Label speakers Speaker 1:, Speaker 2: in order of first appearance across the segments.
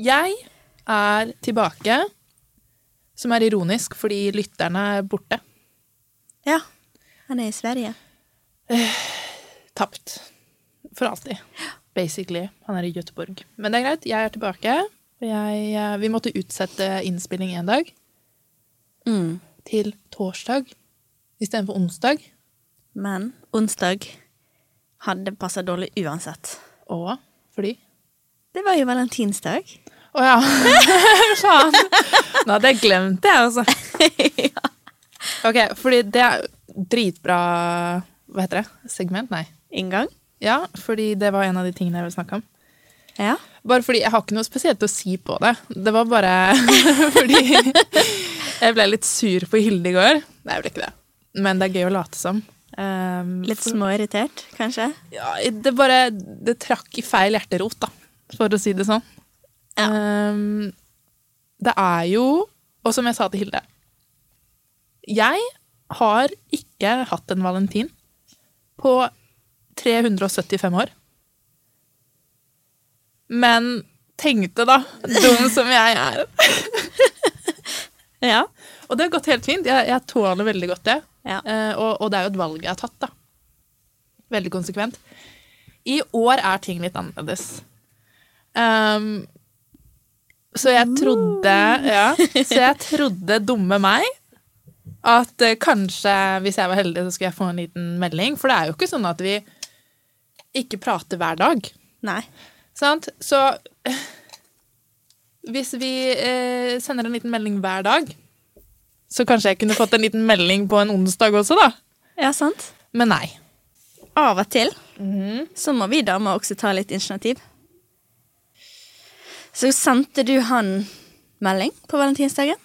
Speaker 1: Jeg er tilbake, som er ironisk fordi lytterne er borte.
Speaker 2: Ja. Han er i Sverige.
Speaker 1: Tapt. For alltid. Basically. Han er i Göteborg. Men det er greit, jeg er tilbake. Jeg, eh, vi måtte utsette innspilling en dag
Speaker 2: Mm.
Speaker 1: til torsdag istedenfor onsdag.
Speaker 2: Men onsdag hadde passa dårlig uansett.
Speaker 1: Og fordi
Speaker 2: Det var jo valentinsdag.
Speaker 1: Å ja. Faen. Nå hadde jeg glemt det, altså. Ok, fordi det er dritbra Hva heter det? Segment? Nei.
Speaker 2: Inngang.
Speaker 1: Ja, fordi det var en av de tingene jeg ville snakke om.
Speaker 2: Ja.
Speaker 1: Bare fordi jeg har ikke noe spesielt å si på det. Det var bare fordi jeg ble litt sur på Hilde i går. Nei, jeg ble ikke det. Men det er gøy å late som. Um,
Speaker 2: Litt småirritert, kanskje.
Speaker 1: ja, det bare Det trakk i feil hjerterot, da, for å si det sånn.
Speaker 2: Ja.
Speaker 1: Ehm, det er jo Og som jeg sa til Hilde Jeg har ikke hatt en valentin på 375 år. Men tenkte, da, dum som jeg er
Speaker 2: Ja.
Speaker 1: Og det har gått helt fint. Jeg, jeg tåler veldig godt det.
Speaker 2: Ja.
Speaker 1: Eh, og, og det er jo et valg jeg har tatt, da. Veldig konsekvent. I år er ting litt annerledes. Ehm, så jeg trodde Ja, så jeg trodde dumme meg at eh, kanskje, hvis jeg var heldig, så skulle jeg få en liten melding. For det er jo ikke sånn at vi ikke prater hver dag.
Speaker 2: Nei.
Speaker 1: Sant? Så eh, hvis vi eh, sender en liten melding hver dag, så kanskje jeg kunne fått en liten melding på en onsdag også, da.
Speaker 2: Ja, sant.
Speaker 1: Men nei.
Speaker 2: Av og til så må vi damer også ta litt initiativ. Så sendte du han melding på valentinsdagen?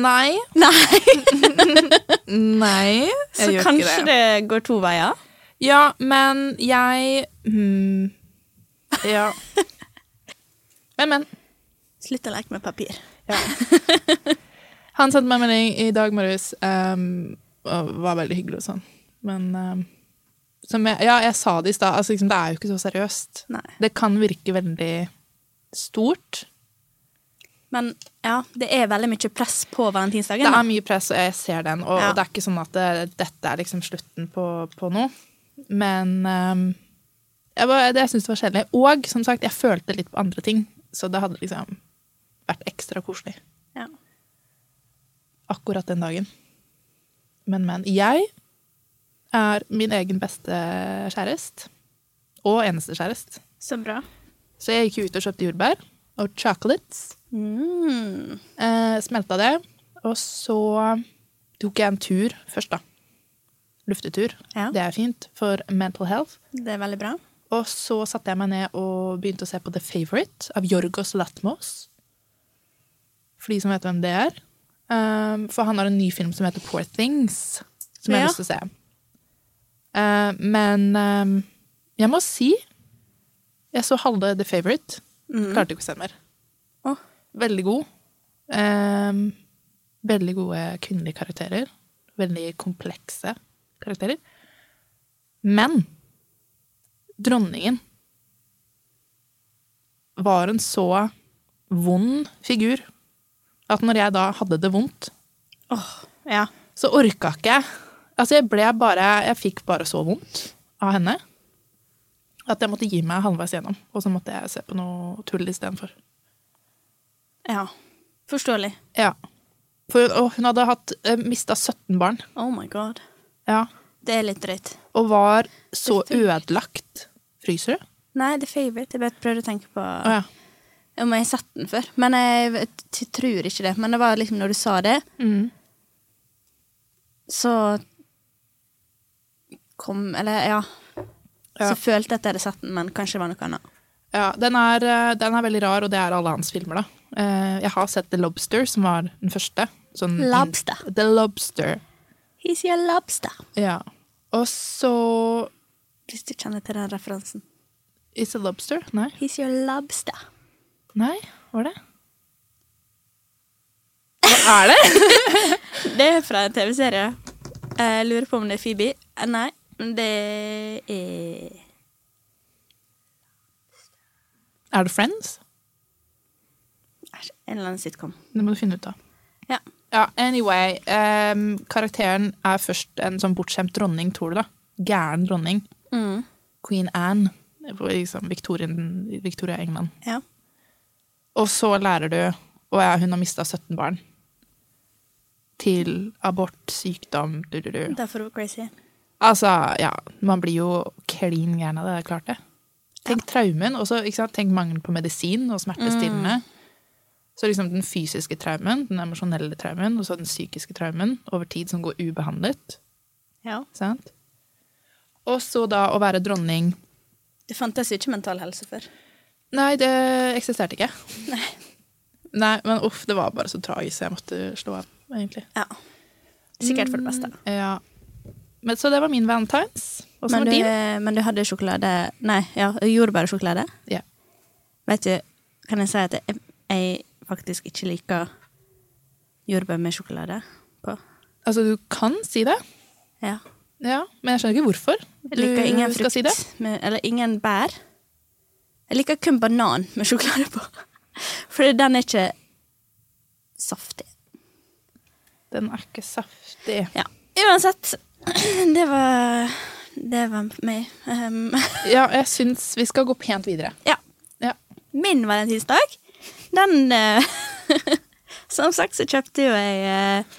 Speaker 1: Nei.
Speaker 2: Nei,
Speaker 1: Nei.
Speaker 2: så kanskje det. går to veier.
Speaker 1: Ja, men jeg hmm, Ja. Men, men.
Speaker 2: Slutt å leke med papir.
Speaker 1: Han sendte meg en melding i dag morges ehm, og var veldig hyggelig og sånn. Men ehm, som jeg, Ja, jeg sa det i stad. Altså, liksom, det er jo ikke så seriøst.
Speaker 2: Nei.
Speaker 1: Det kan virke veldig stort.
Speaker 2: Men ja, det er veldig mye press på valentinsdagen.
Speaker 1: Det
Speaker 2: da.
Speaker 1: er mye press, og jeg ser den. Og
Speaker 2: Ja.
Speaker 1: det er ikke sånn at det, dette er liksom slutten på, på noe. Men ehm, jeg, var- det, jeg syns det var kjedelig. Og som sagt, jeg følte litt på andre ting. Så det hadde liksom vært ekstra koselig
Speaker 2: Ja.
Speaker 1: akkurat den dagen. Men, men. Jeg er min egen beste kjærest. Og eneste kjærest.
Speaker 2: Så bra.
Speaker 1: Så jeg gikk ut og kjøpte jordbær og chocolates.
Speaker 2: Mm.
Speaker 1: Eh, smelta det, og så tok jeg en tur først, da. Luftetur.
Speaker 2: Ja.
Speaker 1: Det er fint for mental health.
Speaker 2: Det er veldig bra.
Speaker 1: Og så satte jeg meg ned og begynte å se på The Favourite av Jorgos Latmos. For de som vet hvem det er. Um, for han har en ny film som heter Poor Things, som jeg
Speaker 2: Ja.
Speaker 1: har lyst til å se. Eh, men um, jeg må si jeg så halve The Favourite. Klarte ikke å se mer.
Speaker 2: Mm. Å.
Speaker 1: Veldig god. Ehm, veldig gode kvinnelige karakterer. Veldig komplekse karakterer. Men dronningen var en så vond figur at når jeg da hadde det vondt,
Speaker 2: Åh, ja.
Speaker 1: så orka ikke jeg. Altså, jeg ble bare Jeg fikk bare så vondt av henne at jeg måtte gi meg halvveis gjennom. Og så måtte jeg se på noe tull istedenfor.
Speaker 2: ja. Forståelig.
Speaker 1: Ja. For hun, og hun hadde hatt mista 17 barn.
Speaker 2: Oh my god.
Speaker 1: Ja.
Speaker 2: Det er litt drøyt.
Speaker 1: Og var så ødelagt. Fryser du?
Speaker 2: Nei, The Favourite. Jeg bare prøvde å tenke på
Speaker 1: Å ja.
Speaker 2: om jeg har sett den før. Men jeg vet- t- tror ikke det. Men det var liksom når du sa det,
Speaker 1: Mm.
Speaker 2: så kom Eller ja.
Speaker 1: Ja.
Speaker 2: Så følte jeg at jeg hadde sett den, men kanskje det var noe annet.
Speaker 1: Ja, den er, eh, den er veldig rar, og det er alle hans filmer, da. Eh, Jeg har sett The Lobster, som var den første. Sånn in-
Speaker 2: Lobster.
Speaker 1: The Lobster.
Speaker 2: He's your lobster.
Speaker 1: Ja. Og så
Speaker 2: Hvis du kjenner til den referansen.
Speaker 1: Is it Lobster? Nei.
Speaker 2: He's your lobster.
Speaker 1: Nei, var det? Hva er det?
Speaker 2: Det er fra en TV-serie. Jeg lurer på om det er Phoebe. Eh, Nei, det er
Speaker 1: Er det Friends?
Speaker 2: En eller annen sitcom.
Speaker 1: Det må du finne ut av.
Speaker 2: Ja.
Speaker 1: Ja, anyway. ehm, karakteren er først en sånn bortskjemt dronning, tror du da? Gæren dronning.
Speaker 2: Mm.
Speaker 1: Queen Anne. Det var Liksom Victoria, Victoria England.
Speaker 2: Ja.
Speaker 1: Og så lærer du Å ja, hun har mista 17 barn. Til abort, sykdom, du, du, du.
Speaker 2: Derfor var crazy.
Speaker 1: Altså, ja. Man blir jo klin gæren av det, det er klart det. Tenk traumen, og så ikke sant, tenk mangel på medisin og smertestillende. Så liksom den fysiske traumen, den emosjonelle traumen, og så den psykiske traumen over tid som går ubehandlet.
Speaker 2: Ja.
Speaker 1: ikke Sant? Og så da å være dronning
Speaker 2: Det fantes jo ikke mental helse før.
Speaker 1: Nei, det eksisterte ikke. Nei, men uff, det var bare så tragisk, så jeg måtte slå av, egentlig. Mm,
Speaker 2: Ja. Sikkert for det beste.
Speaker 1: Ja. Men, så det var min valentines. Og så
Speaker 2: Men
Speaker 1: var
Speaker 2: du, eh,
Speaker 1: din.
Speaker 2: men du hadde sjokolade Nei, ja, jordbærsjokolade.
Speaker 1: Ja.
Speaker 2: Vet du, kan jeg si at jeg, jeg faktisk ikke liker jordbær med sjokolade på.
Speaker 1: Altså, du kan si det,
Speaker 2: Ja.
Speaker 1: ja, men jeg skjønner ikke hvorfor.
Speaker 2: Jeg liker ingen
Speaker 1: skal
Speaker 2: frukt
Speaker 1: si det.
Speaker 2: med, Eller ingen bær. Jeg liker kun banan med sjokolade på. Fordi den er ikke saftig.
Speaker 1: Den er ikke saftig.
Speaker 2: Ja. Uansett. Det var Det var meg. Um,
Speaker 1: Ja, jeg syns vi skal gå pent videre.
Speaker 2: ja.
Speaker 1: Ja.
Speaker 2: Min valentinsdag, den eh, Som sagt så kjøpte jo jeg eh,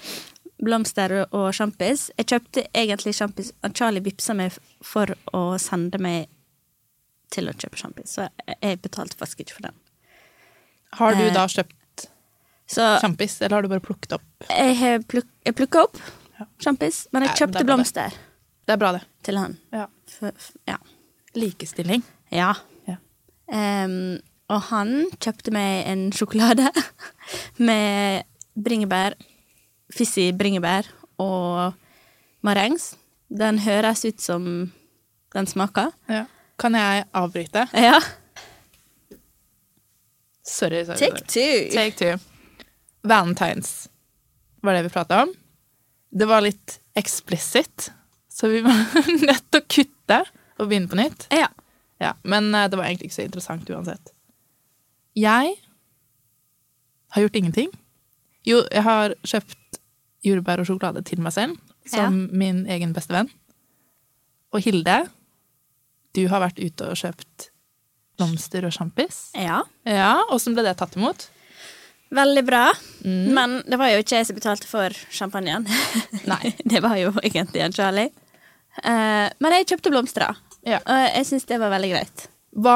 Speaker 2: blomster og sjampis. Jeg kjøpte egentlig sjampis og Charlie vippsa meg for å sende meg til å kjøpe sjampis, så jeg- jeg betalte faktisk ikke for den.
Speaker 1: Har du
Speaker 2: Eh,
Speaker 1: da kjøpt
Speaker 2: Så
Speaker 1: sjampis, eller har du bare plukket opp?
Speaker 2: jeg, har pluk jeg plukka opp
Speaker 1: Ja.
Speaker 2: sjampis, men jeg
Speaker 1: Nei, men det
Speaker 2: kjøpte
Speaker 1: er bra, det.
Speaker 2: blomster
Speaker 1: Det er bra, det.
Speaker 2: til han.
Speaker 1: Ja.
Speaker 2: For, for, ja.
Speaker 1: Likestilling.
Speaker 2: ja.
Speaker 1: Ja.
Speaker 2: Em, og han kjøpte meg en sjokolade med bringebær, fizzy bringebær og marengs. Den høres ut som den smaker.
Speaker 1: Ja. Kan jeg avbryte?
Speaker 2: Ja.
Speaker 1: Sorry. sorry, sorry.
Speaker 2: Take two.
Speaker 1: Take two. Valentines var det vi prata om. Det var litt explicit, så vi var nødt til å kutte og begynne på nytt.
Speaker 2: Ja.
Speaker 1: Ja, men eh, det var egentlig ikke så interessant uansett. Jeg har gjort ingenting. Jo, jeg har kjøpt jordbær og sjokolade til meg selv, som min egen beste venn. Og Hilde, du har vært ute og kjøpt blomster og sjampis.
Speaker 2: ja.
Speaker 1: Ja, åssen ble det tatt imot?
Speaker 2: Veldig bra.
Speaker 1: Mm.
Speaker 2: Men det var jo ikke jeg som betalte for champagnen.
Speaker 1: Nei.
Speaker 2: det var jo egentlig en Charlie. Eh, men jeg kjøpte blomster, da.
Speaker 1: Ja.
Speaker 2: Og jeg syns det var veldig greit.
Speaker 1: Hva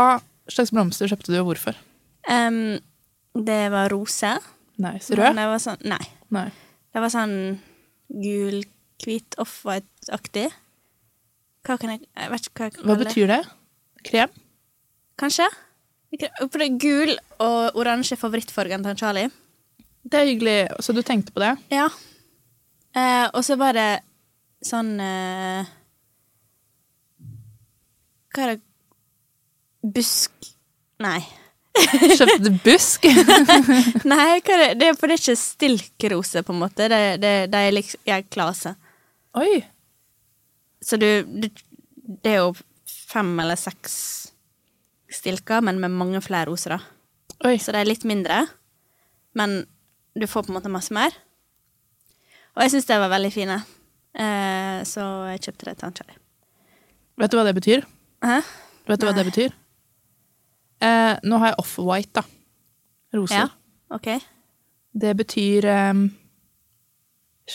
Speaker 1: slags blomster kjøpte du, og hvorfor?
Speaker 2: Em, det var roser.
Speaker 1: Nice.
Speaker 2: Men
Speaker 1: Rød?
Speaker 2: Det var sånn, nei.
Speaker 1: Nei.
Speaker 2: Det var sånn gul, hvit, off-white-aktig. Hva kan jeg Jeg vet ikke hva jeg kan
Speaker 1: Hva
Speaker 2: kalle det.
Speaker 1: betyr det? Krem?
Speaker 2: Kanskje? For det er gul og oransje favorittfargen til han Charlie.
Speaker 1: Det er hyggelig. Så du tenkte på det?
Speaker 2: Ja. Eh, og så var det sånn eh, Hva er det Busk Nei.
Speaker 1: Kjøpte du busk?
Speaker 2: Nei, hva er det? Det, er, for det er ikke stilkroser, på en måte. Det, det, det er liksom Jeg er klase.
Speaker 1: Oi.
Speaker 2: Så du, du Det er jo fem eller seks stilker, men med mange flere roser, da.
Speaker 1: Oi.
Speaker 2: Så det er litt mindre, men du får på en måte masse mer. Og jeg syns det var veldig fine, eh, så jeg kjøpte det til han Charlie.
Speaker 1: Vet du hva det betyr?
Speaker 2: Hæ?
Speaker 1: Vet du hva
Speaker 2: Nei.
Speaker 1: det betyr? Eh, nå har jeg off-white, da. Roser.
Speaker 2: Ja, OK.
Speaker 1: Det betyr eh,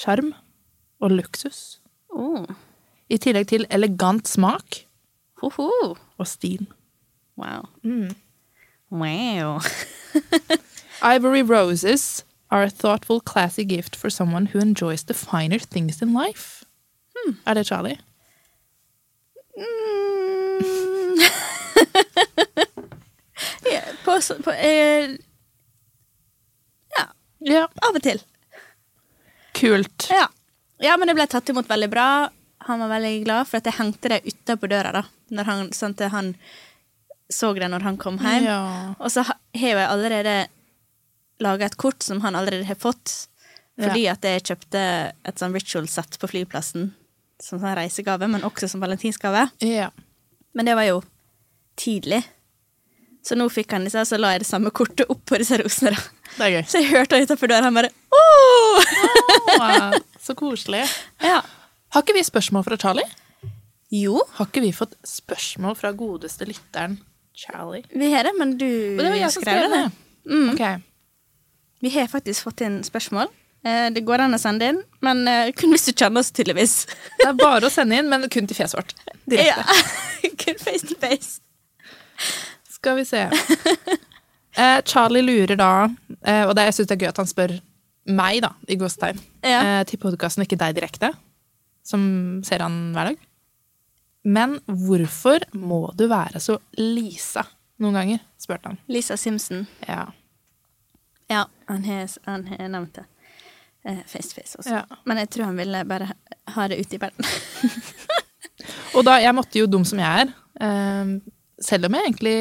Speaker 1: sjarm og luksus.
Speaker 2: Oh.
Speaker 1: I tillegg til elegant smak
Speaker 2: Hoho.
Speaker 1: og stil.
Speaker 2: Wow.
Speaker 1: Mm.
Speaker 2: Wow.
Speaker 1: Ivory roses are a thoughtful, classy gift for someone who enjoys the finer things in life. Hmm, Er det Charlie?
Speaker 2: Mm. ja, på, så- på eh, Ja,
Speaker 1: Ja.
Speaker 2: av og til.
Speaker 1: Kult.
Speaker 2: Ja. ja, men det ble tatt imot veldig bra. Han var veldig glad, for at jeg hengte det utenpå døra. da når han, Sånn at han så det når han kom hjem.
Speaker 1: Ja.
Speaker 2: Og så ha- har jeg allerede laga et kort som han allerede har fått. Fordi at jeg kjøpte et sånn ritual-sett på flyplassen som sånn reisegave, men også som valentinsgave.
Speaker 1: Ja.
Speaker 2: Men det var jo tidlig. Så nå fikk han disse, her, så la jeg det samme kortet opp på disse rosene. da.
Speaker 1: Det er gøy.
Speaker 2: Så jeg hørte han utenfor døra, han bare Åh!
Speaker 1: Wow, så koselig.
Speaker 2: Ja.
Speaker 1: Har ikke vi spørsmål fra Charlie?
Speaker 2: Jo,
Speaker 1: Har ikke vi fått spørsmål fra godeste lytteren Charlie?
Speaker 2: vi har det, men du
Speaker 1: Og det var jeg som skrev det.
Speaker 2: Mm.
Speaker 1: Ok.
Speaker 2: Vi har faktisk fått inn spørsmål. Eh, Det går an å sende inn, men eh, kun hvis du kjenner oss, tydeligvis.
Speaker 1: Det er bare å sende inn, men kun til fjeset vårt. Direkte.
Speaker 2: Ja. Kun face to face.
Speaker 1: Skal vi se. Eh, Charlie lurer da, eh, og det, jeg syns det er gøy at han spør meg, da, i gåsetegn,
Speaker 2: Ja.
Speaker 1: eh, til podkasten, ikke deg direkte, som ser han hver dag. Men hvorfor må du være så Lisa noen ganger? spurte han.
Speaker 2: Lisa Simpson.
Speaker 1: Ja.
Speaker 2: Ja, han har, han har nevnt det. Eh, Face to face også.
Speaker 1: Ja.
Speaker 2: Men jeg tror han ville bare ha- ha det ute i verden.
Speaker 1: Og da, jeg måtte jo dum som jeg er, eh, selv om jeg egentlig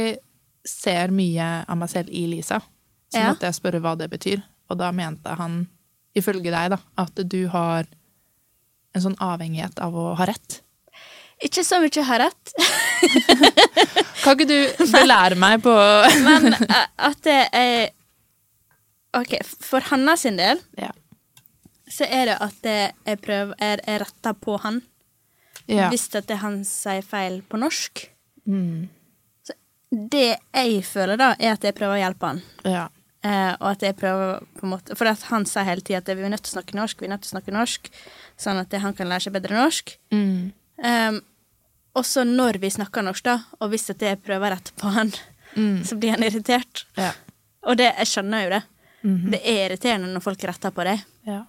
Speaker 1: ser mye av meg selv i Lisa, så
Speaker 2: Ja.
Speaker 1: måtte jeg spørre hva det betyr. Og da mente han, ifølge deg, da, at du har en sånn avhengighet av å ha rett.
Speaker 2: Ikke så mye har rett,
Speaker 1: Kan ikke du belære meg på
Speaker 2: men eh, at det er OK, for Hanna sin del
Speaker 1: Ja.
Speaker 2: så er det at det jeg prøver Jeg jeg retter på han.
Speaker 1: ja.
Speaker 2: Hvis at det han sier feil på norsk.
Speaker 1: Mm.
Speaker 2: Det jeg føler, da, er at jeg prøver å hjelpe han.
Speaker 1: ja.
Speaker 2: Eh, og at jeg prøver på en måte For at han sier hele tida at vi er nødt til å snakke norsk, vi er nødt til å snakke norsk, sånn at han kan lære seg bedre norsk.
Speaker 1: Mm.
Speaker 2: Um, og så når vi snakker norsk, da, og hvis at jeg prøver rett på han,
Speaker 1: Mm.
Speaker 2: så blir han irritert.
Speaker 1: ja.
Speaker 2: Og det, jeg skjønner jo det. Det er irriterende når folk retter på deg,
Speaker 1: Ja.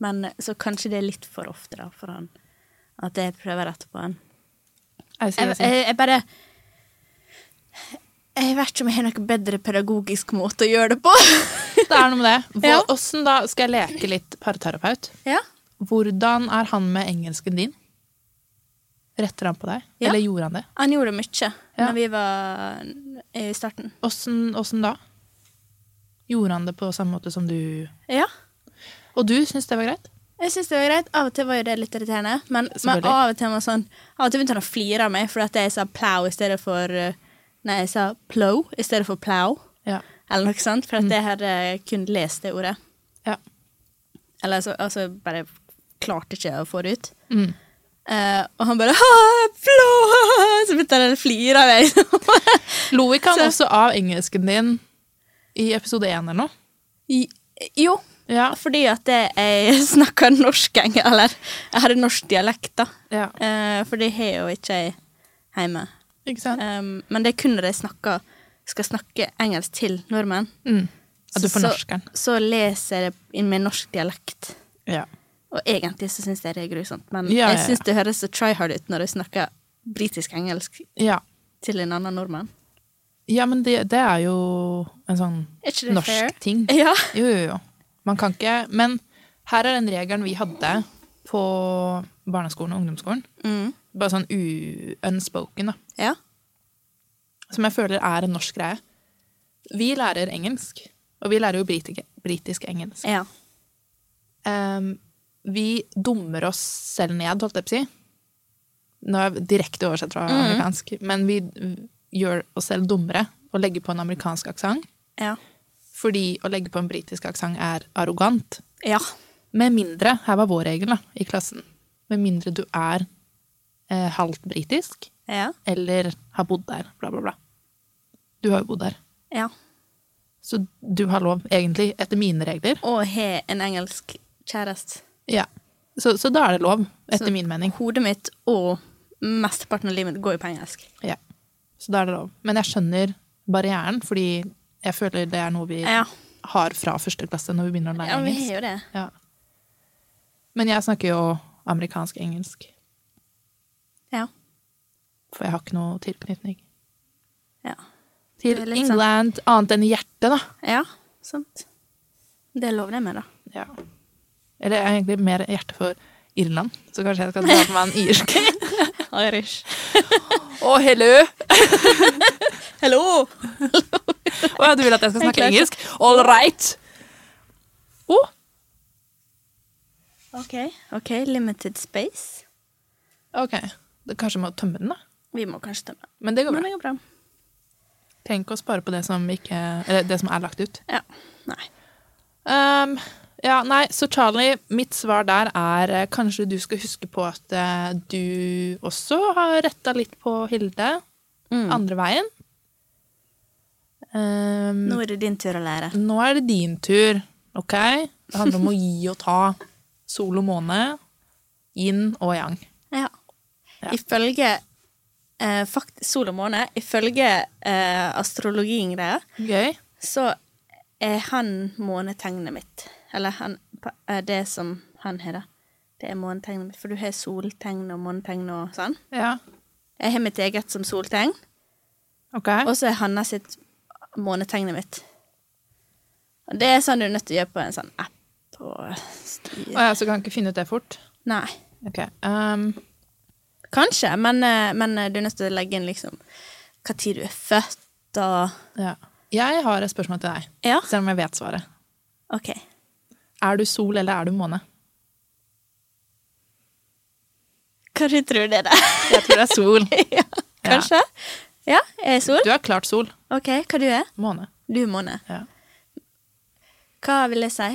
Speaker 2: men så kanskje det er litt for ofte, da, for han. At jeg prøver rett på han.
Speaker 1: Jeg sier
Speaker 2: Jeg,
Speaker 1: det.
Speaker 2: jeg, jeg bare Jeg vet ikke om jeg har noen bedre pedagogisk måte å gjøre det på.
Speaker 1: Det er noe med det. Hvor,
Speaker 2: Ja.
Speaker 1: Hvordan da skal jeg leke litt parterapeut?
Speaker 2: ja.
Speaker 1: Hvordan er han med engelsken din? Retter han på deg?
Speaker 2: Ja.
Speaker 1: Eller gjorde han det?
Speaker 2: Han gjorde mye
Speaker 1: Ja.
Speaker 2: når vi var i starten.
Speaker 1: Hvordan, hvordan da? Gjorde han det på samme måte som du
Speaker 2: Ja.
Speaker 1: Og du syns det var greit?
Speaker 2: Jeg synes det var greit. Av og til var jo det litt irriterende. Men, men
Speaker 1: Selvfølgelig.
Speaker 2: av og til var sånn Av og til begynte han å flire av meg fordi at jeg sa plow i stedet for eh, Nei, jeg sa plow i stedet for plow.
Speaker 1: Ja.
Speaker 2: Eller noe sånt. For at jeg hadde kun lest det ordet.
Speaker 1: ja.
Speaker 2: Eller altså, altså bare klarte ikke å få det ut.
Speaker 1: Mm.
Speaker 2: Eh, og han bare «Ha, plow! Så begynte han å flire av meg.
Speaker 1: Lo ikke han
Speaker 2: Så-
Speaker 1: også av engelsken din i episode én eller noe?
Speaker 2: I- jo,
Speaker 1: Ja.
Speaker 2: fordi at jeg snakka norsk, eller jeg hadde norsk dialekt, da.
Speaker 1: ja.
Speaker 2: Eh, for det har jo ikke jeg hjemme.
Speaker 1: Ikke sant?
Speaker 2: Um, men det er kun når jeg snakker, skal snakke engelsk til nordmenn.
Speaker 1: Mm. At du
Speaker 2: Så-
Speaker 1: fornorsker den.
Speaker 2: Så leser jeg det inn med norsk dialekt.
Speaker 1: Ja.
Speaker 2: Og egentlig så syns jeg det er grusomt, men
Speaker 1: Ja, ja, ja.
Speaker 2: jeg syns det høres så try hard ut når jeg snakker britisk-engelsk
Speaker 1: ja.
Speaker 2: til en annen nordmann.
Speaker 1: Ja, men det, det er jo en sånn
Speaker 2: Er ikke det
Speaker 1: norsk
Speaker 2: fair?
Speaker 1: ting.
Speaker 2: Ja.
Speaker 1: Jo, jo, jo. Man kan ikke Men her er den regelen vi hadde på barneskolen og ungdomsskolen.
Speaker 2: Mm.
Speaker 1: Bare sånn u- unspoken, da.
Speaker 2: ja.
Speaker 1: Som jeg føler er en norsk greie. Vi lærer engelsk, og vi lærer jo britik- britisk engelsk.
Speaker 2: Ja.
Speaker 1: Ehm, vi dummer oss selv ned, holdt jeg på å si. Nå er jeg direkte oversett fra amerikansk, men vi gjør oss selv dummere og legger på en amerikansk aksent.
Speaker 2: Ja.
Speaker 1: Fordi å legge på en britisk aksent er arrogant.
Speaker 2: ja.
Speaker 1: Med mindre, her var vår regel da, i klassen, med mindre du er eh, halvt britisk,
Speaker 2: Ja.
Speaker 1: eller har bodd der, bla bla bla. Du har jo bodd der.
Speaker 2: ja.
Speaker 1: Så du har lov, egentlig, etter mine regler.
Speaker 2: Og har en engelsk kjæreste.
Speaker 1: Ja. Så, så da er det lov, etter
Speaker 2: Så-
Speaker 1: min mening.
Speaker 2: Hodet mitt og mesteparten av livet mitt går jo på engelsk.
Speaker 1: Ja. Så da er det lov. Men jeg skjønner barrieren, fordi jeg føler det er noe vi
Speaker 2: Ja.
Speaker 1: har fra første klasse når vi begynner å lære
Speaker 2: Ja, vi
Speaker 1: engelsk.
Speaker 2: har jo det.
Speaker 1: Ja. Men jeg snakker jo amerikansk-engelsk.
Speaker 2: Ja.
Speaker 1: For jeg har ikke noe tilknytning
Speaker 2: ja.
Speaker 1: til
Speaker 2: Det er litt sånn- sant.
Speaker 1: England, annet enn i hjertet, da.
Speaker 2: Ja, sant. Det lover jeg meg, da.
Speaker 1: Ja. Eller jeg har egentlig mer hjerte for Irland, så kanskje jeg skal dra på meg en irsk.
Speaker 2: Irish.
Speaker 1: Å, hello!
Speaker 2: Hello!
Speaker 1: Å, du vil at jeg skal
Speaker 2: Jeg
Speaker 1: snakke
Speaker 2: klarer ikke.
Speaker 1: engelsk? All right! Å,
Speaker 2: OK. ok, Limited space.
Speaker 1: ok. Det kanskje jeg må tømme den, da.
Speaker 2: Vi må kanskje tømme.
Speaker 1: Men det går
Speaker 2: Men
Speaker 1: bra.
Speaker 2: det går bra.
Speaker 1: Tenk å spare på det som, ikke, eller det som er lagt ut.
Speaker 2: Ja. Nei.
Speaker 1: Ehm, ja, nei, så Charlie, mitt svar der er eh, kanskje du skal huske på at eh, du også har retta litt på Hilde.
Speaker 2: Mm.
Speaker 1: Andre veien. Ehm,
Speaker 2: Nå er det din tur å lære.
Speaker 1: nå er det din tur, OK? Det handler om å gi og ta. Sol og måne. Yin og yang.
Speaker 2: Ja.
Speaker 1: Ja.
Speaker 2: Ifølge eh, fakt, sol og måne, ifølge eh, astrologien-greia,
Speaker 1: Gøy.
Speaker 2: så er han månetegnet mitt. Eller han, pa- eh, det som han har, da. Det er månetegnet mitt. For du har soltegn og månetegn og sånn.
Speaker 1: Ja.
Speaker 2: Jeg har mitt eget som soltegn,
Speaker 1: OK.
Speaker 2: og så er Hanna sitt månetegnet mitt. Og det er sånn du er nødt til å gjøre på en sånn app og
Speaker 1: Å
Speaker 2: styre
Speaker 1: ja, så kan jeg ikke finne ut det fort?
Speaker 2: Nei.
Speaker 1: OK. ehm,
Speaker 2: Kanskje, men, eh, men eh, du er nødt til å legge inn liksom hva tid du er født og
Speaker 1: ja. Jeg har et spørsmål til deg,
Speaker 2: Ja,
Speaker 1: selv om jeg vet svaret.
Speaker 2: OK.
Speaker 1: Er du sol, eller er du måne?
Speaker 2: Kanskje du tror det, da.
Speaker 1: Jeg tror det er sol.
Speaker 2: Kanskje? Ja, jeg er sol.
Speaker 1: Du er klart sol.
Speaker 2: OK, hva du er
Speaker 1: Måne.
Speaker 2: Du er måne.
Speaker 1: Ja.
Speaker 2: Hva vil jeg si?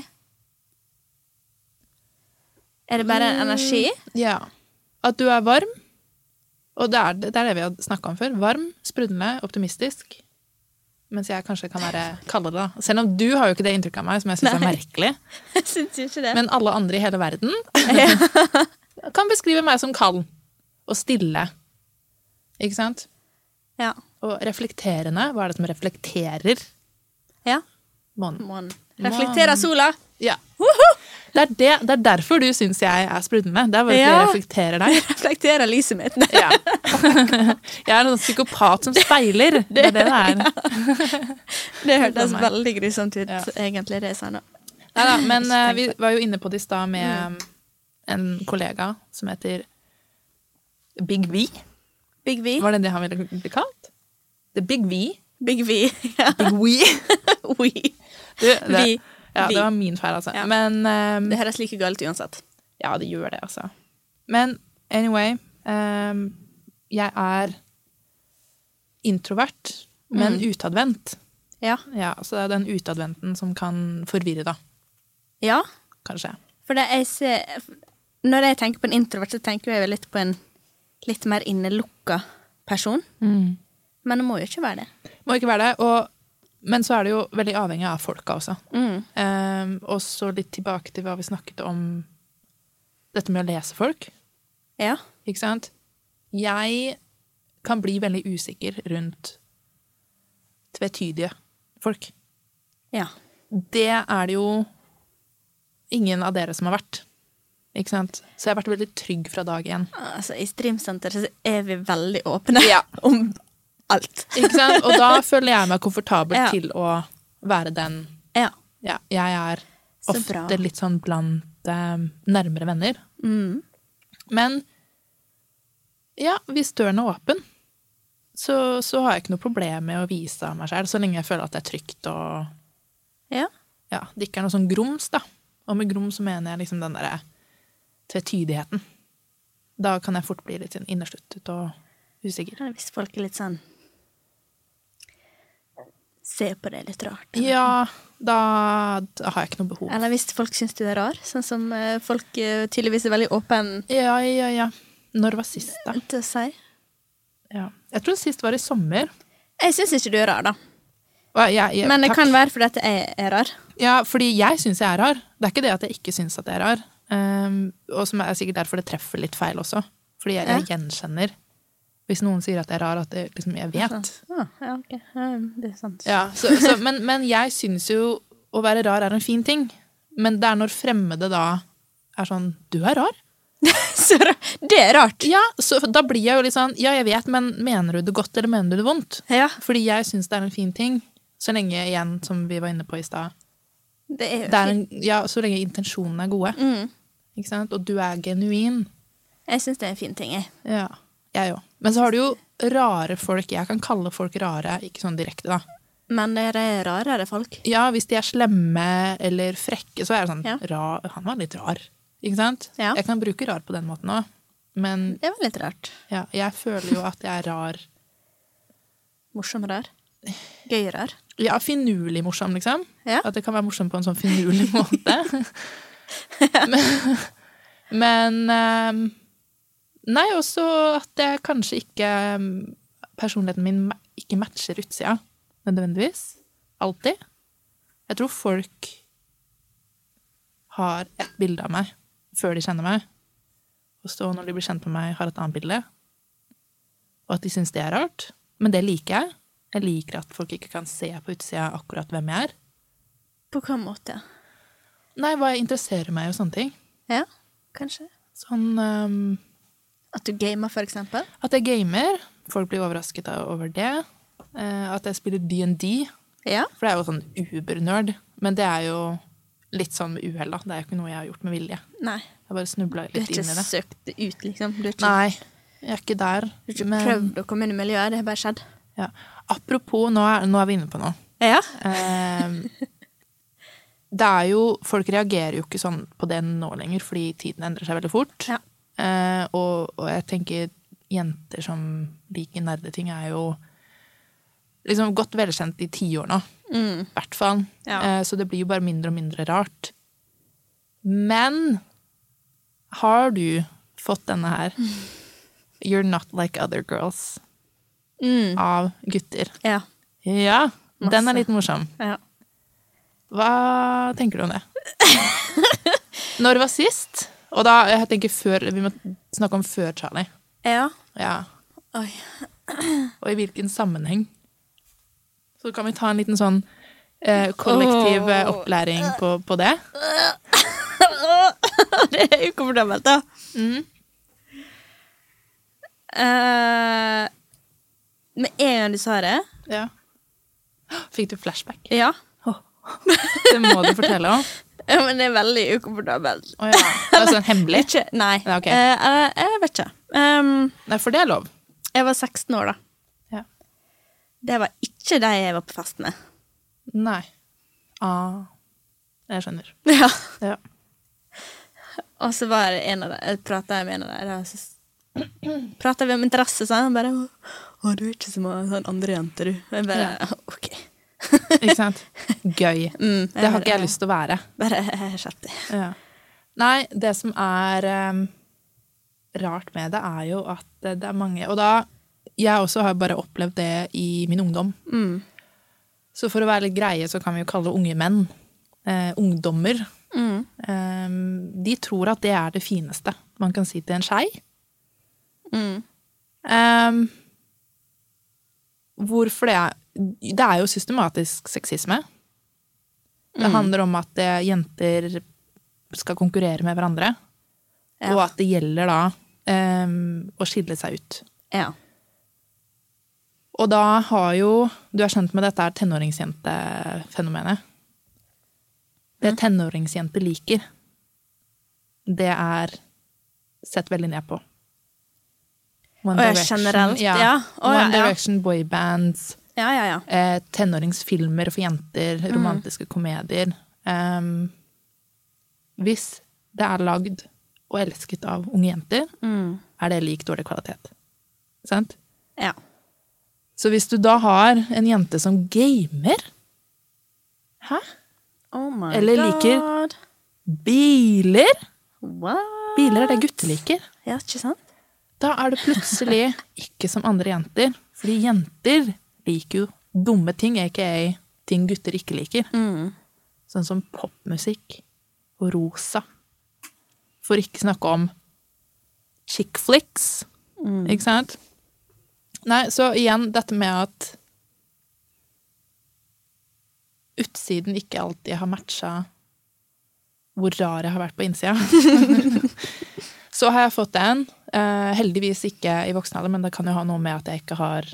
Speaker 2: Er det bare
Speaker 1: Mm.
Speaker 2: en energi?
Speaker 1: ja. At du er varm. Og det er det, er det vi har snakka om før. Varm, sprudlende, optimistisk. Mens jeg kanskje kan være kaldere, da. Selv om du har jo ikke det inntrykket av meg, som jeg syns er
Speaker 2: Nei.
Speaker 1: merkelig.
Speaker 2: Jeg syns jo ikke det.
Speaker 1: Men alle andre i hele verden kan beskrive meg som kald og stille. Ikke sant?
Speaker 2: ja.
Speaker 1: Og reflekterende. Hva er det som reflekterer
Speaker 2: ja.
Speaker 1: månen?
Speaker 2: Månen. Reflekterer sola.
Speaker 1: Ja.
Speaker 2: Woho!
Speaker 1: Det er, det, det er derfor du syns jeg er sprudlende. Det er bare fordi
Speaker 2: Ja.
Speaker 1: jeg reflekterer deg.
Speaker 2: Reflekterer lyset mitt. Nei,
Speaker 1: Ja. Jeg er en sånn psykopat som speiler. Det er det det er.
Speaker 2: Det hørtes
Speaker 1: Samme.
Speaker 2: veldig grusomt ut,
Speaker 1: Ja.
Speaker 2: egentlig, det jeg sa nå.
Speaker 1: Neida, men eh, vi var jo inne på det i stad med eh, en kollega som heter Big V.
Speaker 2: Big V.
Speaker 1: Var det det han ville bli kalt? The Big V.
Speaker 2: Big V. Ja.
Speaker 1: Big We.
Speaker 2: We.
Speaker 1: Du, det,
Speaker 2: Vi.
Speaker 1: ja,
Speaker 2: Vi.
Speaker 1: det var min feil, altså.
Speaker 2: Ja.
Speaker 1: Men eh,
Speaker 2: Det høres like galt uansett.
Speaker 1: Ja, det gjør det, altså. Men anyway ehm, Jeg er introvert, men utadvendt.
Speaker 2: Ja.
Speaker 1: Ja, så det er den utadvendten som kan forvirre, da.
Speaker 2: Ja,
Speaker 1: Kanskje.
Speaker 2: for det jeg ser Når jeg tenker på en introvert, så tenker jeg jo litt på en litt mer innelukka person. Men det må jo ikke være det.
Speaker 1: Må ikke være det. Og, men så er det jo veldig avhengig av folka også.
Speaker 2: Mm.
Speaker 1: Ehm, og så litt tilbake til hva vi snakket om dette med å lese folk.
Speaker 2: Ja.
Speaker 1: Ikke sant? Jeg kan bli veldig usikker rundt tvetydige folk.
Speaker 2: Ja.
Speaker 1: Det er det jo ingen av dere som har vært. Ikke sant? Så jeg har vært veldig trygg fra dag én.
Speaker 2: Altså, I Streamsenter så er vi veldig åpne
Speaker 1: Ja.
Speaker 2: om alt.
Speaker 1: Ikke sant? Og da føler jeg meg komfortabel
Speaker 2: Ja.
Speaker 1: til å være den
Speaker 2: Ja.
Speaker 1: ja, Jeg er
Speaker 2: Så
Speaker 1: ofte
Speaker 2: bra.
Speaker 1: litt sånn blant eh, nærmere venner.
Speaker 2: Mm.
Speaker 1: Men ja, hvis døren er åpen, så, så har jeg ikke noe problem med å vise av meg sjøl, så lenge jeg føler at det er trygt og
Speaker 2: ja.
Speaker 1: ja, det ikke er noe sånn grums, da. Og med grums så mener jeg liksom den derre tvetydigheten. Da kan jeg fort bli litt sånn innersluttet og usikker.
Speaker 2: Eller Hvis folk er litt sånn Ser på deg litt rart.
Speaker 1: Ja, da, da har jeg ikke noe behov.
Speaker 2: Eller hvis folk syns du er rar, sånn som eh, folk eh, tydeligvis er veldig åpne
Speaker 1: Ja, ja, ja. Når var sist, da?
Speaker 2: til å si.
Speaker 1: Ja. Jeg tror sist var i sommer.
Speaker 2: Jeg syns ikke du er rar, da.
Speaker 1: Og jeg, jeg,
Speaker 2: Men det
Speaker 1: takk.
Speaker 2: kan være fordi at jeg er rar.
Speaker 1: Ja, fordi jeg syns jeg er rar. Det er ikke det at jeg ikke syns at jeg er rar. Ehm, og som er sikkert derfor det treffer litt feil også. Fordi jeg, jeg gjenkjenner. Hvis noen sier at jeg er rar, at jeg, liksom, jeg vet.
Speaker 2: Ah, ja, ok. Ja, Det er sant.
Speaker 1: Ja, så, så, men, men jeg syns jo å være rar er en fin ting. Men det er når fremmede da er sånn 'du er rar'.
Speaker 2: Så ra- det er rart.
Speaker 1: Ja, så Da blir jeg jo litt sånn 'ja, jeg vet, men mener du det godt, eller mener du det vondt?'
Speaker 2: Ja,
Speaker 1: Fordi jeg syns det er en fin ting. Så lenge, igjen, som vi var inne på i stad,
Speaker 2: det er jo
Speaker 1: det er
Speaker 2: fint.
Speaker 1: en- ja, så lenge intensjonene er gode.
Speaker 2: Mm.
Speaker 1: Ikke sant? Og du er genuin.
Speaker 2: Jeg syns det er en fin ting, jeg.
Speaker 1: Ja, jeg òg. Men så har du jo rare folk. Jeg kan kalle folk rare, ikke sånn direkte, da.
Speaker 2: Men det er rarere folk.
Speaker 1: Ja, hvis de er slemme eller frekke, så er det sånn
Speaker 2: Ja.
Speaker 1: ra, Han var litt rar. Ikke sant?
Speaker 2: Ja.
Speaker 1: Jeg kan bruke rar på den måten òg. Men
Speaker 2: Det var litt rart.
Speaker 1: ja, jeg føler jo at jeg er rar.
Speaker 2: Morsom rar. Gøyere.
Speaker 1: ja, finurlig morsom, liksom.
Speaker 2: Ja.
Speaker 1: At det kan være morsom på en sånn finurlig måte. men men ehm, Nei, også at jeg kanskje ikke ehm, Personligheten min ma- ikke matcher utsida nødvendigvis. Alltid. Jeg tror folk har et bilde av meg før de kjenner meg. Og så når de blir kjent med meg, har et annet bilde. Og at de syns det er rart. Men det liker jeg. Jeg liker at folk ikke kan se på utsida akkurat hvem jeg er.
Speaker 2: På hvilken måte?
Speaker 1: Nei, hva jeg interesserer meg og sånne ting.
Speaker 2: Ja, kanskje.
Speaker 1: Sånn ehm,
Speaker 2: At du gamer, for eksempel.
Speaker 1: at jeg gamer. Folk blir overrasket av- over det. Eh, at jeg spiller DND.
Speaker 2: Ja.
Speaker 1: For det er jo sånn ubernerd. Men det er jo litt sånn med uhell, da. Det er jo ikke noe jeg har gjort med vilje.
Speaker 2: Nei.
Speaker 1: Jeg bare snubla
Speaker 2: Du har
Speaker 1: litt inn
Speaker 2: ikke
Speaker 1: i det.
Speaker 2: søkt det ut, liksom. Du har ikke,
Speaker 1: Nei, jeg er ikke der.
Speaker 2: du har ikke
Speaker 1: men-
Speaker 2: prøvd å komme inn i miljøet. Det har bare skjedd.
Speaker 1: Ja. Apropos, nå er, nå er vi inne på noe.
Speaker 2: Ja.
Speaker 1: Ehm, det er jo Folk reagerer jo ikke sånn på det nå lenger, fordi tiden endrer seg veldig fort.
Speaker 2: Ja.
Speaker 1: Eh, og, og jeg tenker jenter som liker nerdeting, er jo liksom godt velkjent i tiår nå.
Speaker 2: Mm.
Speaker 1: I hvert fall.
Speaker 2: Ja.
Speaker 1: Eh, så det blir jo bare mindre og mindre rart. Men har du fått denne her? You're not like other girls
Speaker 2: Mm.
Speaker 1: av gutter.
Speaker 2: Ja.
Speaker 1: Ja, den
Speaker 2: Masse.
Speaker 1: er litt morsom.
Speaker 2: ja.
Speaker 1: Hva tenker du om det? Når det var sist? Og da, jeg tenker før, Vi må snakke om før Charlie.
Speaker 2: Ja.
Speaker 1: Ja.
Speaker 2: Oi.
Speaker 1: Og i hvilken sammenheng. Så kan vi ta en liten sånn eh, kollektiv eh,
Speaker 2: Åh.
Speaker 1: opplæring på, på det.
Speaker 2: det er ukomfortabelt, da.
Speaker 1: Mm.
Speaker 2: Eh, med en gang du sa det
Speaker 1: Ja. Fikk du flashback?
Speaker 2: Ja.
Speaker 1: Det må du fortelle om.
Speaker 2: Ja, Men det er veldig ukomfortabelt.
Speaker 1: Å ja. Det er sånn hemmelig.
Speaker 2: Ikke, nei.
Speaker 1: Ja, ok.
Speaker 2: Eh, eh, jeg vet ikke. Ehm,
Speaker 1: Nei, for det er lov.
Speaker 2: jeg var 16 år da.
Speaker 1: Ja.
Speaker 2: Det var ikke de jeg var på fest med.
Speaker 1: Nei. Ah. Jeg skjønner.
Speaker 2: Ja.
Speaker 1: Ja.
Speaker 2: Og så var det en av dem, prata jeg med en av dem, og så prata vi om interesse, sa han. Og bare 'Å, du er ikke som sånn andre jenter, du.' Jeg bare OK.
Speaker 1: Ikke sant? Gøy.
Speaker 2: Mm,
Speaker 1: Det har ikke jeg lyst til å være.
Speaker 2: Bare skjerp deg.
Speaker 1: Ja. Nei, det som er em, rart med det, er jo at det det er mange Og da Jeg også har bare opplevd det i min ungdom.
Speaker 2: Mm.
Speaker 1: Så for å være litt greie, så kan vi jo kalle det unge menn. Eh, ungdommer.
Speaker 2: Mm.
Speaker 1: Em, de tror at det er det fineste man kan si til en skei.
Speaker 2: Mm.
Speaker 1: Em, hvorfor det er Det er jo systematisk sexisme. Det handler om at eh, jenter skal konkurrere med hverandre.
Speaker 2: Ja.
Speaker 1: Og at det gjelder da em, å skille seg ut.
Speaker 2: Ja.
Speaker 1: Og da har jo Du er kjent med dette her tenåringsjentefenomenet. Det tenåringsjenter liker, det er sett veldig ned på. One
Speaker 2: Å ja, generelt, ja. Å ja,
Speaker 1: One
Speaker 2: ja.
Speaker 1: Direction, boybands,
Speaker 2: Ja, ja, ja.
Speaker 1: eh, tenåringsfilmer for jenter,
Speaker 2: Mm.
Speaker 1: romantiske komedier. Em, hvis det er lagd og elsket av unge jenter,
Speaker 2: Mm.
Speaker 1: er det lik dårlig kvalitet. Sant?
Speaker 2: Ja.
Speaker 1: Så hvis du da har en jente som gamer Hæ?
Speaker 2: Oh my
Speaker 1: Eller liker-
Speaker 2: god.
Speaker 1: Biler?
Speaker 2: What?
Speaker 1: Biler er det gutter liker.
Speaker 2: Ja, ikke sant?
Speaker 1: Da er det plutselig ikke som andre jenter. Fordi jenter liker jo dumme ting, aka ting gutter ikke liker.
Speaker 2: Mm.
Speaker 1: Sånn som popmusikk og rosa. For ikke snakke om chick flicks, ikke sant? Nei, så igjen dette med at utsiden ikke alltid har matcha hvor rar jeg har vært på innsida. så har jeg fått en. Eh, heldigvis ikke i voksen alder, men det kan jo ha noe med at jeg ikke har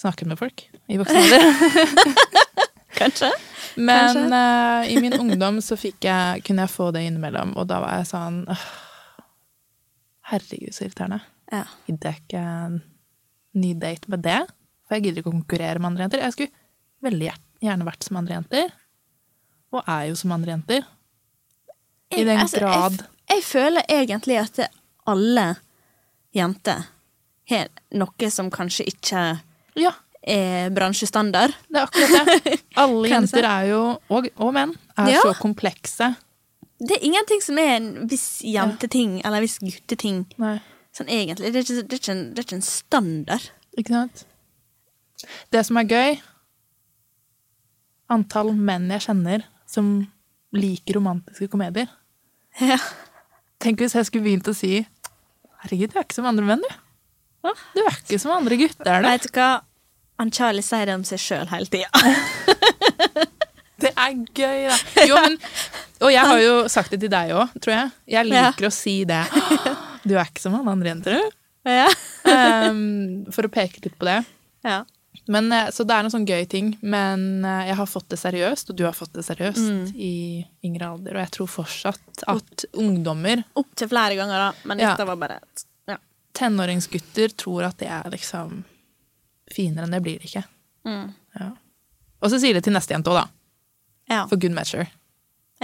Speaker 1: snakket med folk i voksen alder.
Speaker 2: Kanskje?
Speaker 1: Men eh, i min ungdom så fikk jeg, kunne jeg få det innimellom, og da var jeg sånn «Åh, Herregud, så irriterende.
Speaker 2: Ja.
Speaker 1: Gidder jeg ikke en ny date med det? For jeg gidder ikke å konkurrere med andre jenter. Jeg skulle veldig gjer- gjerne vært som andre jenter, og er jo som andre jenter. I den
Speaker 2: Altså, jeg
Speaker 1: grad
Speaker 2: f- Jeg, føler egentlig at det- alle jenter har noe som kanskje ikke
Speaker 1: Ja,
Speaker 2: er bransjestandard.
Speaker 1: Det er akkurat det. Alle
Speaker 2: Kan jeg
Speaker 1: jenter er jo, og, og menn, er
Speaker 2: Ja.
Speaker 1: så komplekse.
Speaker 2: Det er ingenting som er en viss jenteting eller en viss gutteting.
Speaker 1: Nei.
Speaker 2: Sånn egentlig. Det er ikke, det er ikke, en, det er ikke en standard.
Speaker 1: Ikke sant? Det som er gøy Antall menn jeg kjenner som liker romantiske komedier.
Speaker 2: Ja.
Speaker 1: Tenk hvis jeg skulle begynt å si Herregud, du er ikke som andre menn, du. Du er ikke som andre gutter, er du.
Speaker 2: Vet du hva? Han Charlie sier det om seg sjøl hele tida.
Speaker 1: Det er gøy, da. Jo, men, og jeg har jo sagt det til deg òg, tror jeg. Jeg liker å si det. Du er ikke som alle andre jenter, du.
Speaker 2: Ja.
Speaker 1: Ehm, for å peke litt på det.
Speaker 2: Ja.
Speaker 1: Men, eh, så det er en sånn gøy ting, men eh, jeg har fått det seriøst, og du har fått det seriøst
Speaker 2: Mm.
Speaker 1: i yngre alder, og jeg tror fortsatt at ungdommer,
Speaker 2: Opptil flere ganger, da. Men
Speaker 1: Ja.
Speaker 2: dette var bare et ja.
Speaker 1: tenåringsgutter, tror at det er liksom finere enn det blir det ikke.
Speaker 2: Mm.
Speaker 1: Ja. Og så sier det til neste jente òg, da.
Speaker 2: ja.
Speaker 1: For good measure.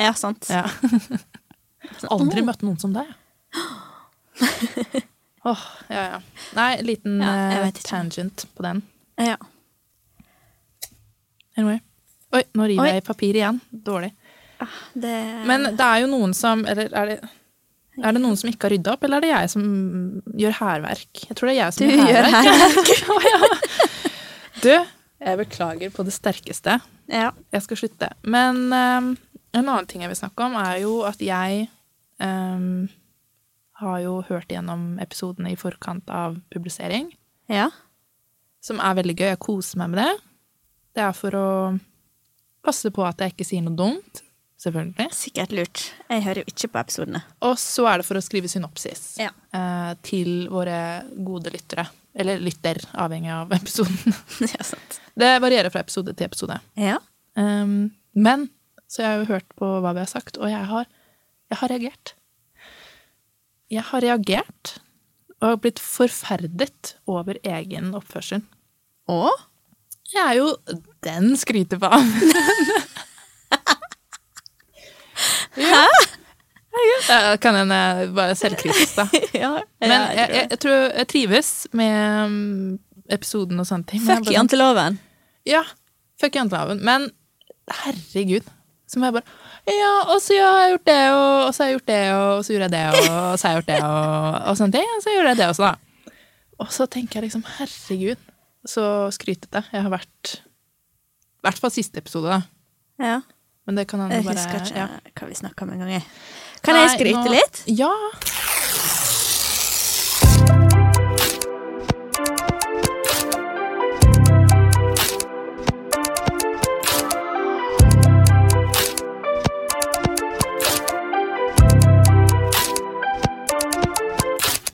Speaker 2: ja, sant.
Speaker 1: Ja. Aldri møtt noen som deg. Åh, ja, ja. Nei, liten
Speaker 2: Ja, jeg
Speaker 1: eh,
Speaker 2: vet ikke.
Speaker 1: tangent på den.
Speaker 2: Ja.
Speaker 1: Anyway. Oi, nå river
Speaker 2: Oi.
Speaker 1: jeg i papir igjen. Dårlig.
Speaker 2: Det
Speaker 1: Men det er jo noen som Eller er det, er det noen som ikke har rydda opp, eller er det jeg som gjør hærverk? Jeg tror det er jeg som
Speaker 2: Du
Speaker 1: gjør
Speaker 2: gjør
Speaker 1: hærverk. Å, ja. Du, jeg beklager på det sterkeste.
Speaker 2: ja.
Speaker 1: Jeg skal slutte. Men ehm, en annen ting jeg vil snakke om, er jo at jeg ehm, har jo hørt gjennom episodene i forkant av publisering,
Speaker 2: ja.
Speaker 1: som er veldig gøy. Jeg koser meg med det. Det er for å passe på at jeg ikke sier noe dumt, selvfølgelig.
Speaker 2: Sikkert lurt. Jeg hører jo ikke på episodene.
Speaker 1: Og så er det for å skrive synopsis
Speaker 2: Ja.
Speaker 1: eh, til våre gode lyttere. Eller lytter, avhengig av episoden.
Speaker 2: ja, sant.
Speaker 1: Det varierer fra episode til episode.
Speaker 2: Ja.
Speaker 1: Um, men så jeg har jo hørt på hva vi har sagt, og jeg har, jeg har reagert. Jeg har reagert og blitt forferdet over egen oppførsel.
Speaker 2: Og
Speaker 1: Jeg er jo den skryter på av. Hæ? Kan en eh, være selvkritisk, da.
Speaker 2: ja,
Speaker 1: Men jeg,
Speaker 2: ja, tror
Speaker 1: jeg,
Speaker 2: det.
Speaker 1: jeg tror jeg trives med mm, episoden og sånne ting. Men jeg
Speaker 2: Fuck
Speaker 1: bare sånn-
Speaker 2: janteloven.
Speaker 1: Ja, fuck janteloven. Men herregud. Så må jeg bare Ja, og så har jeg gjort det, og, og så har jeg gjort det, og, og så gjorde jeg det, og, og så har jeg gjort det, og, og sånne ting. Og så gjorde jeg det også, da. Og så tenker jeg liksom Herregud, så skrytete jeg har vært. I hvert fall siste episode, da.
Speaker 2: Ja.
Speaker 1: Men det kan han
Speaker 2: Jeg
Speaker 1: bare
Speaker 2: husker ikke
Speaker 1: ja.
Speaker 2: hva vi snakka om en gang. jeg. Kan jeg
Speaker 1: Nei,
Speaker 2: skryte
Speaker 1: nå-
Speaker 2: litt?
Speaker 1: Ja.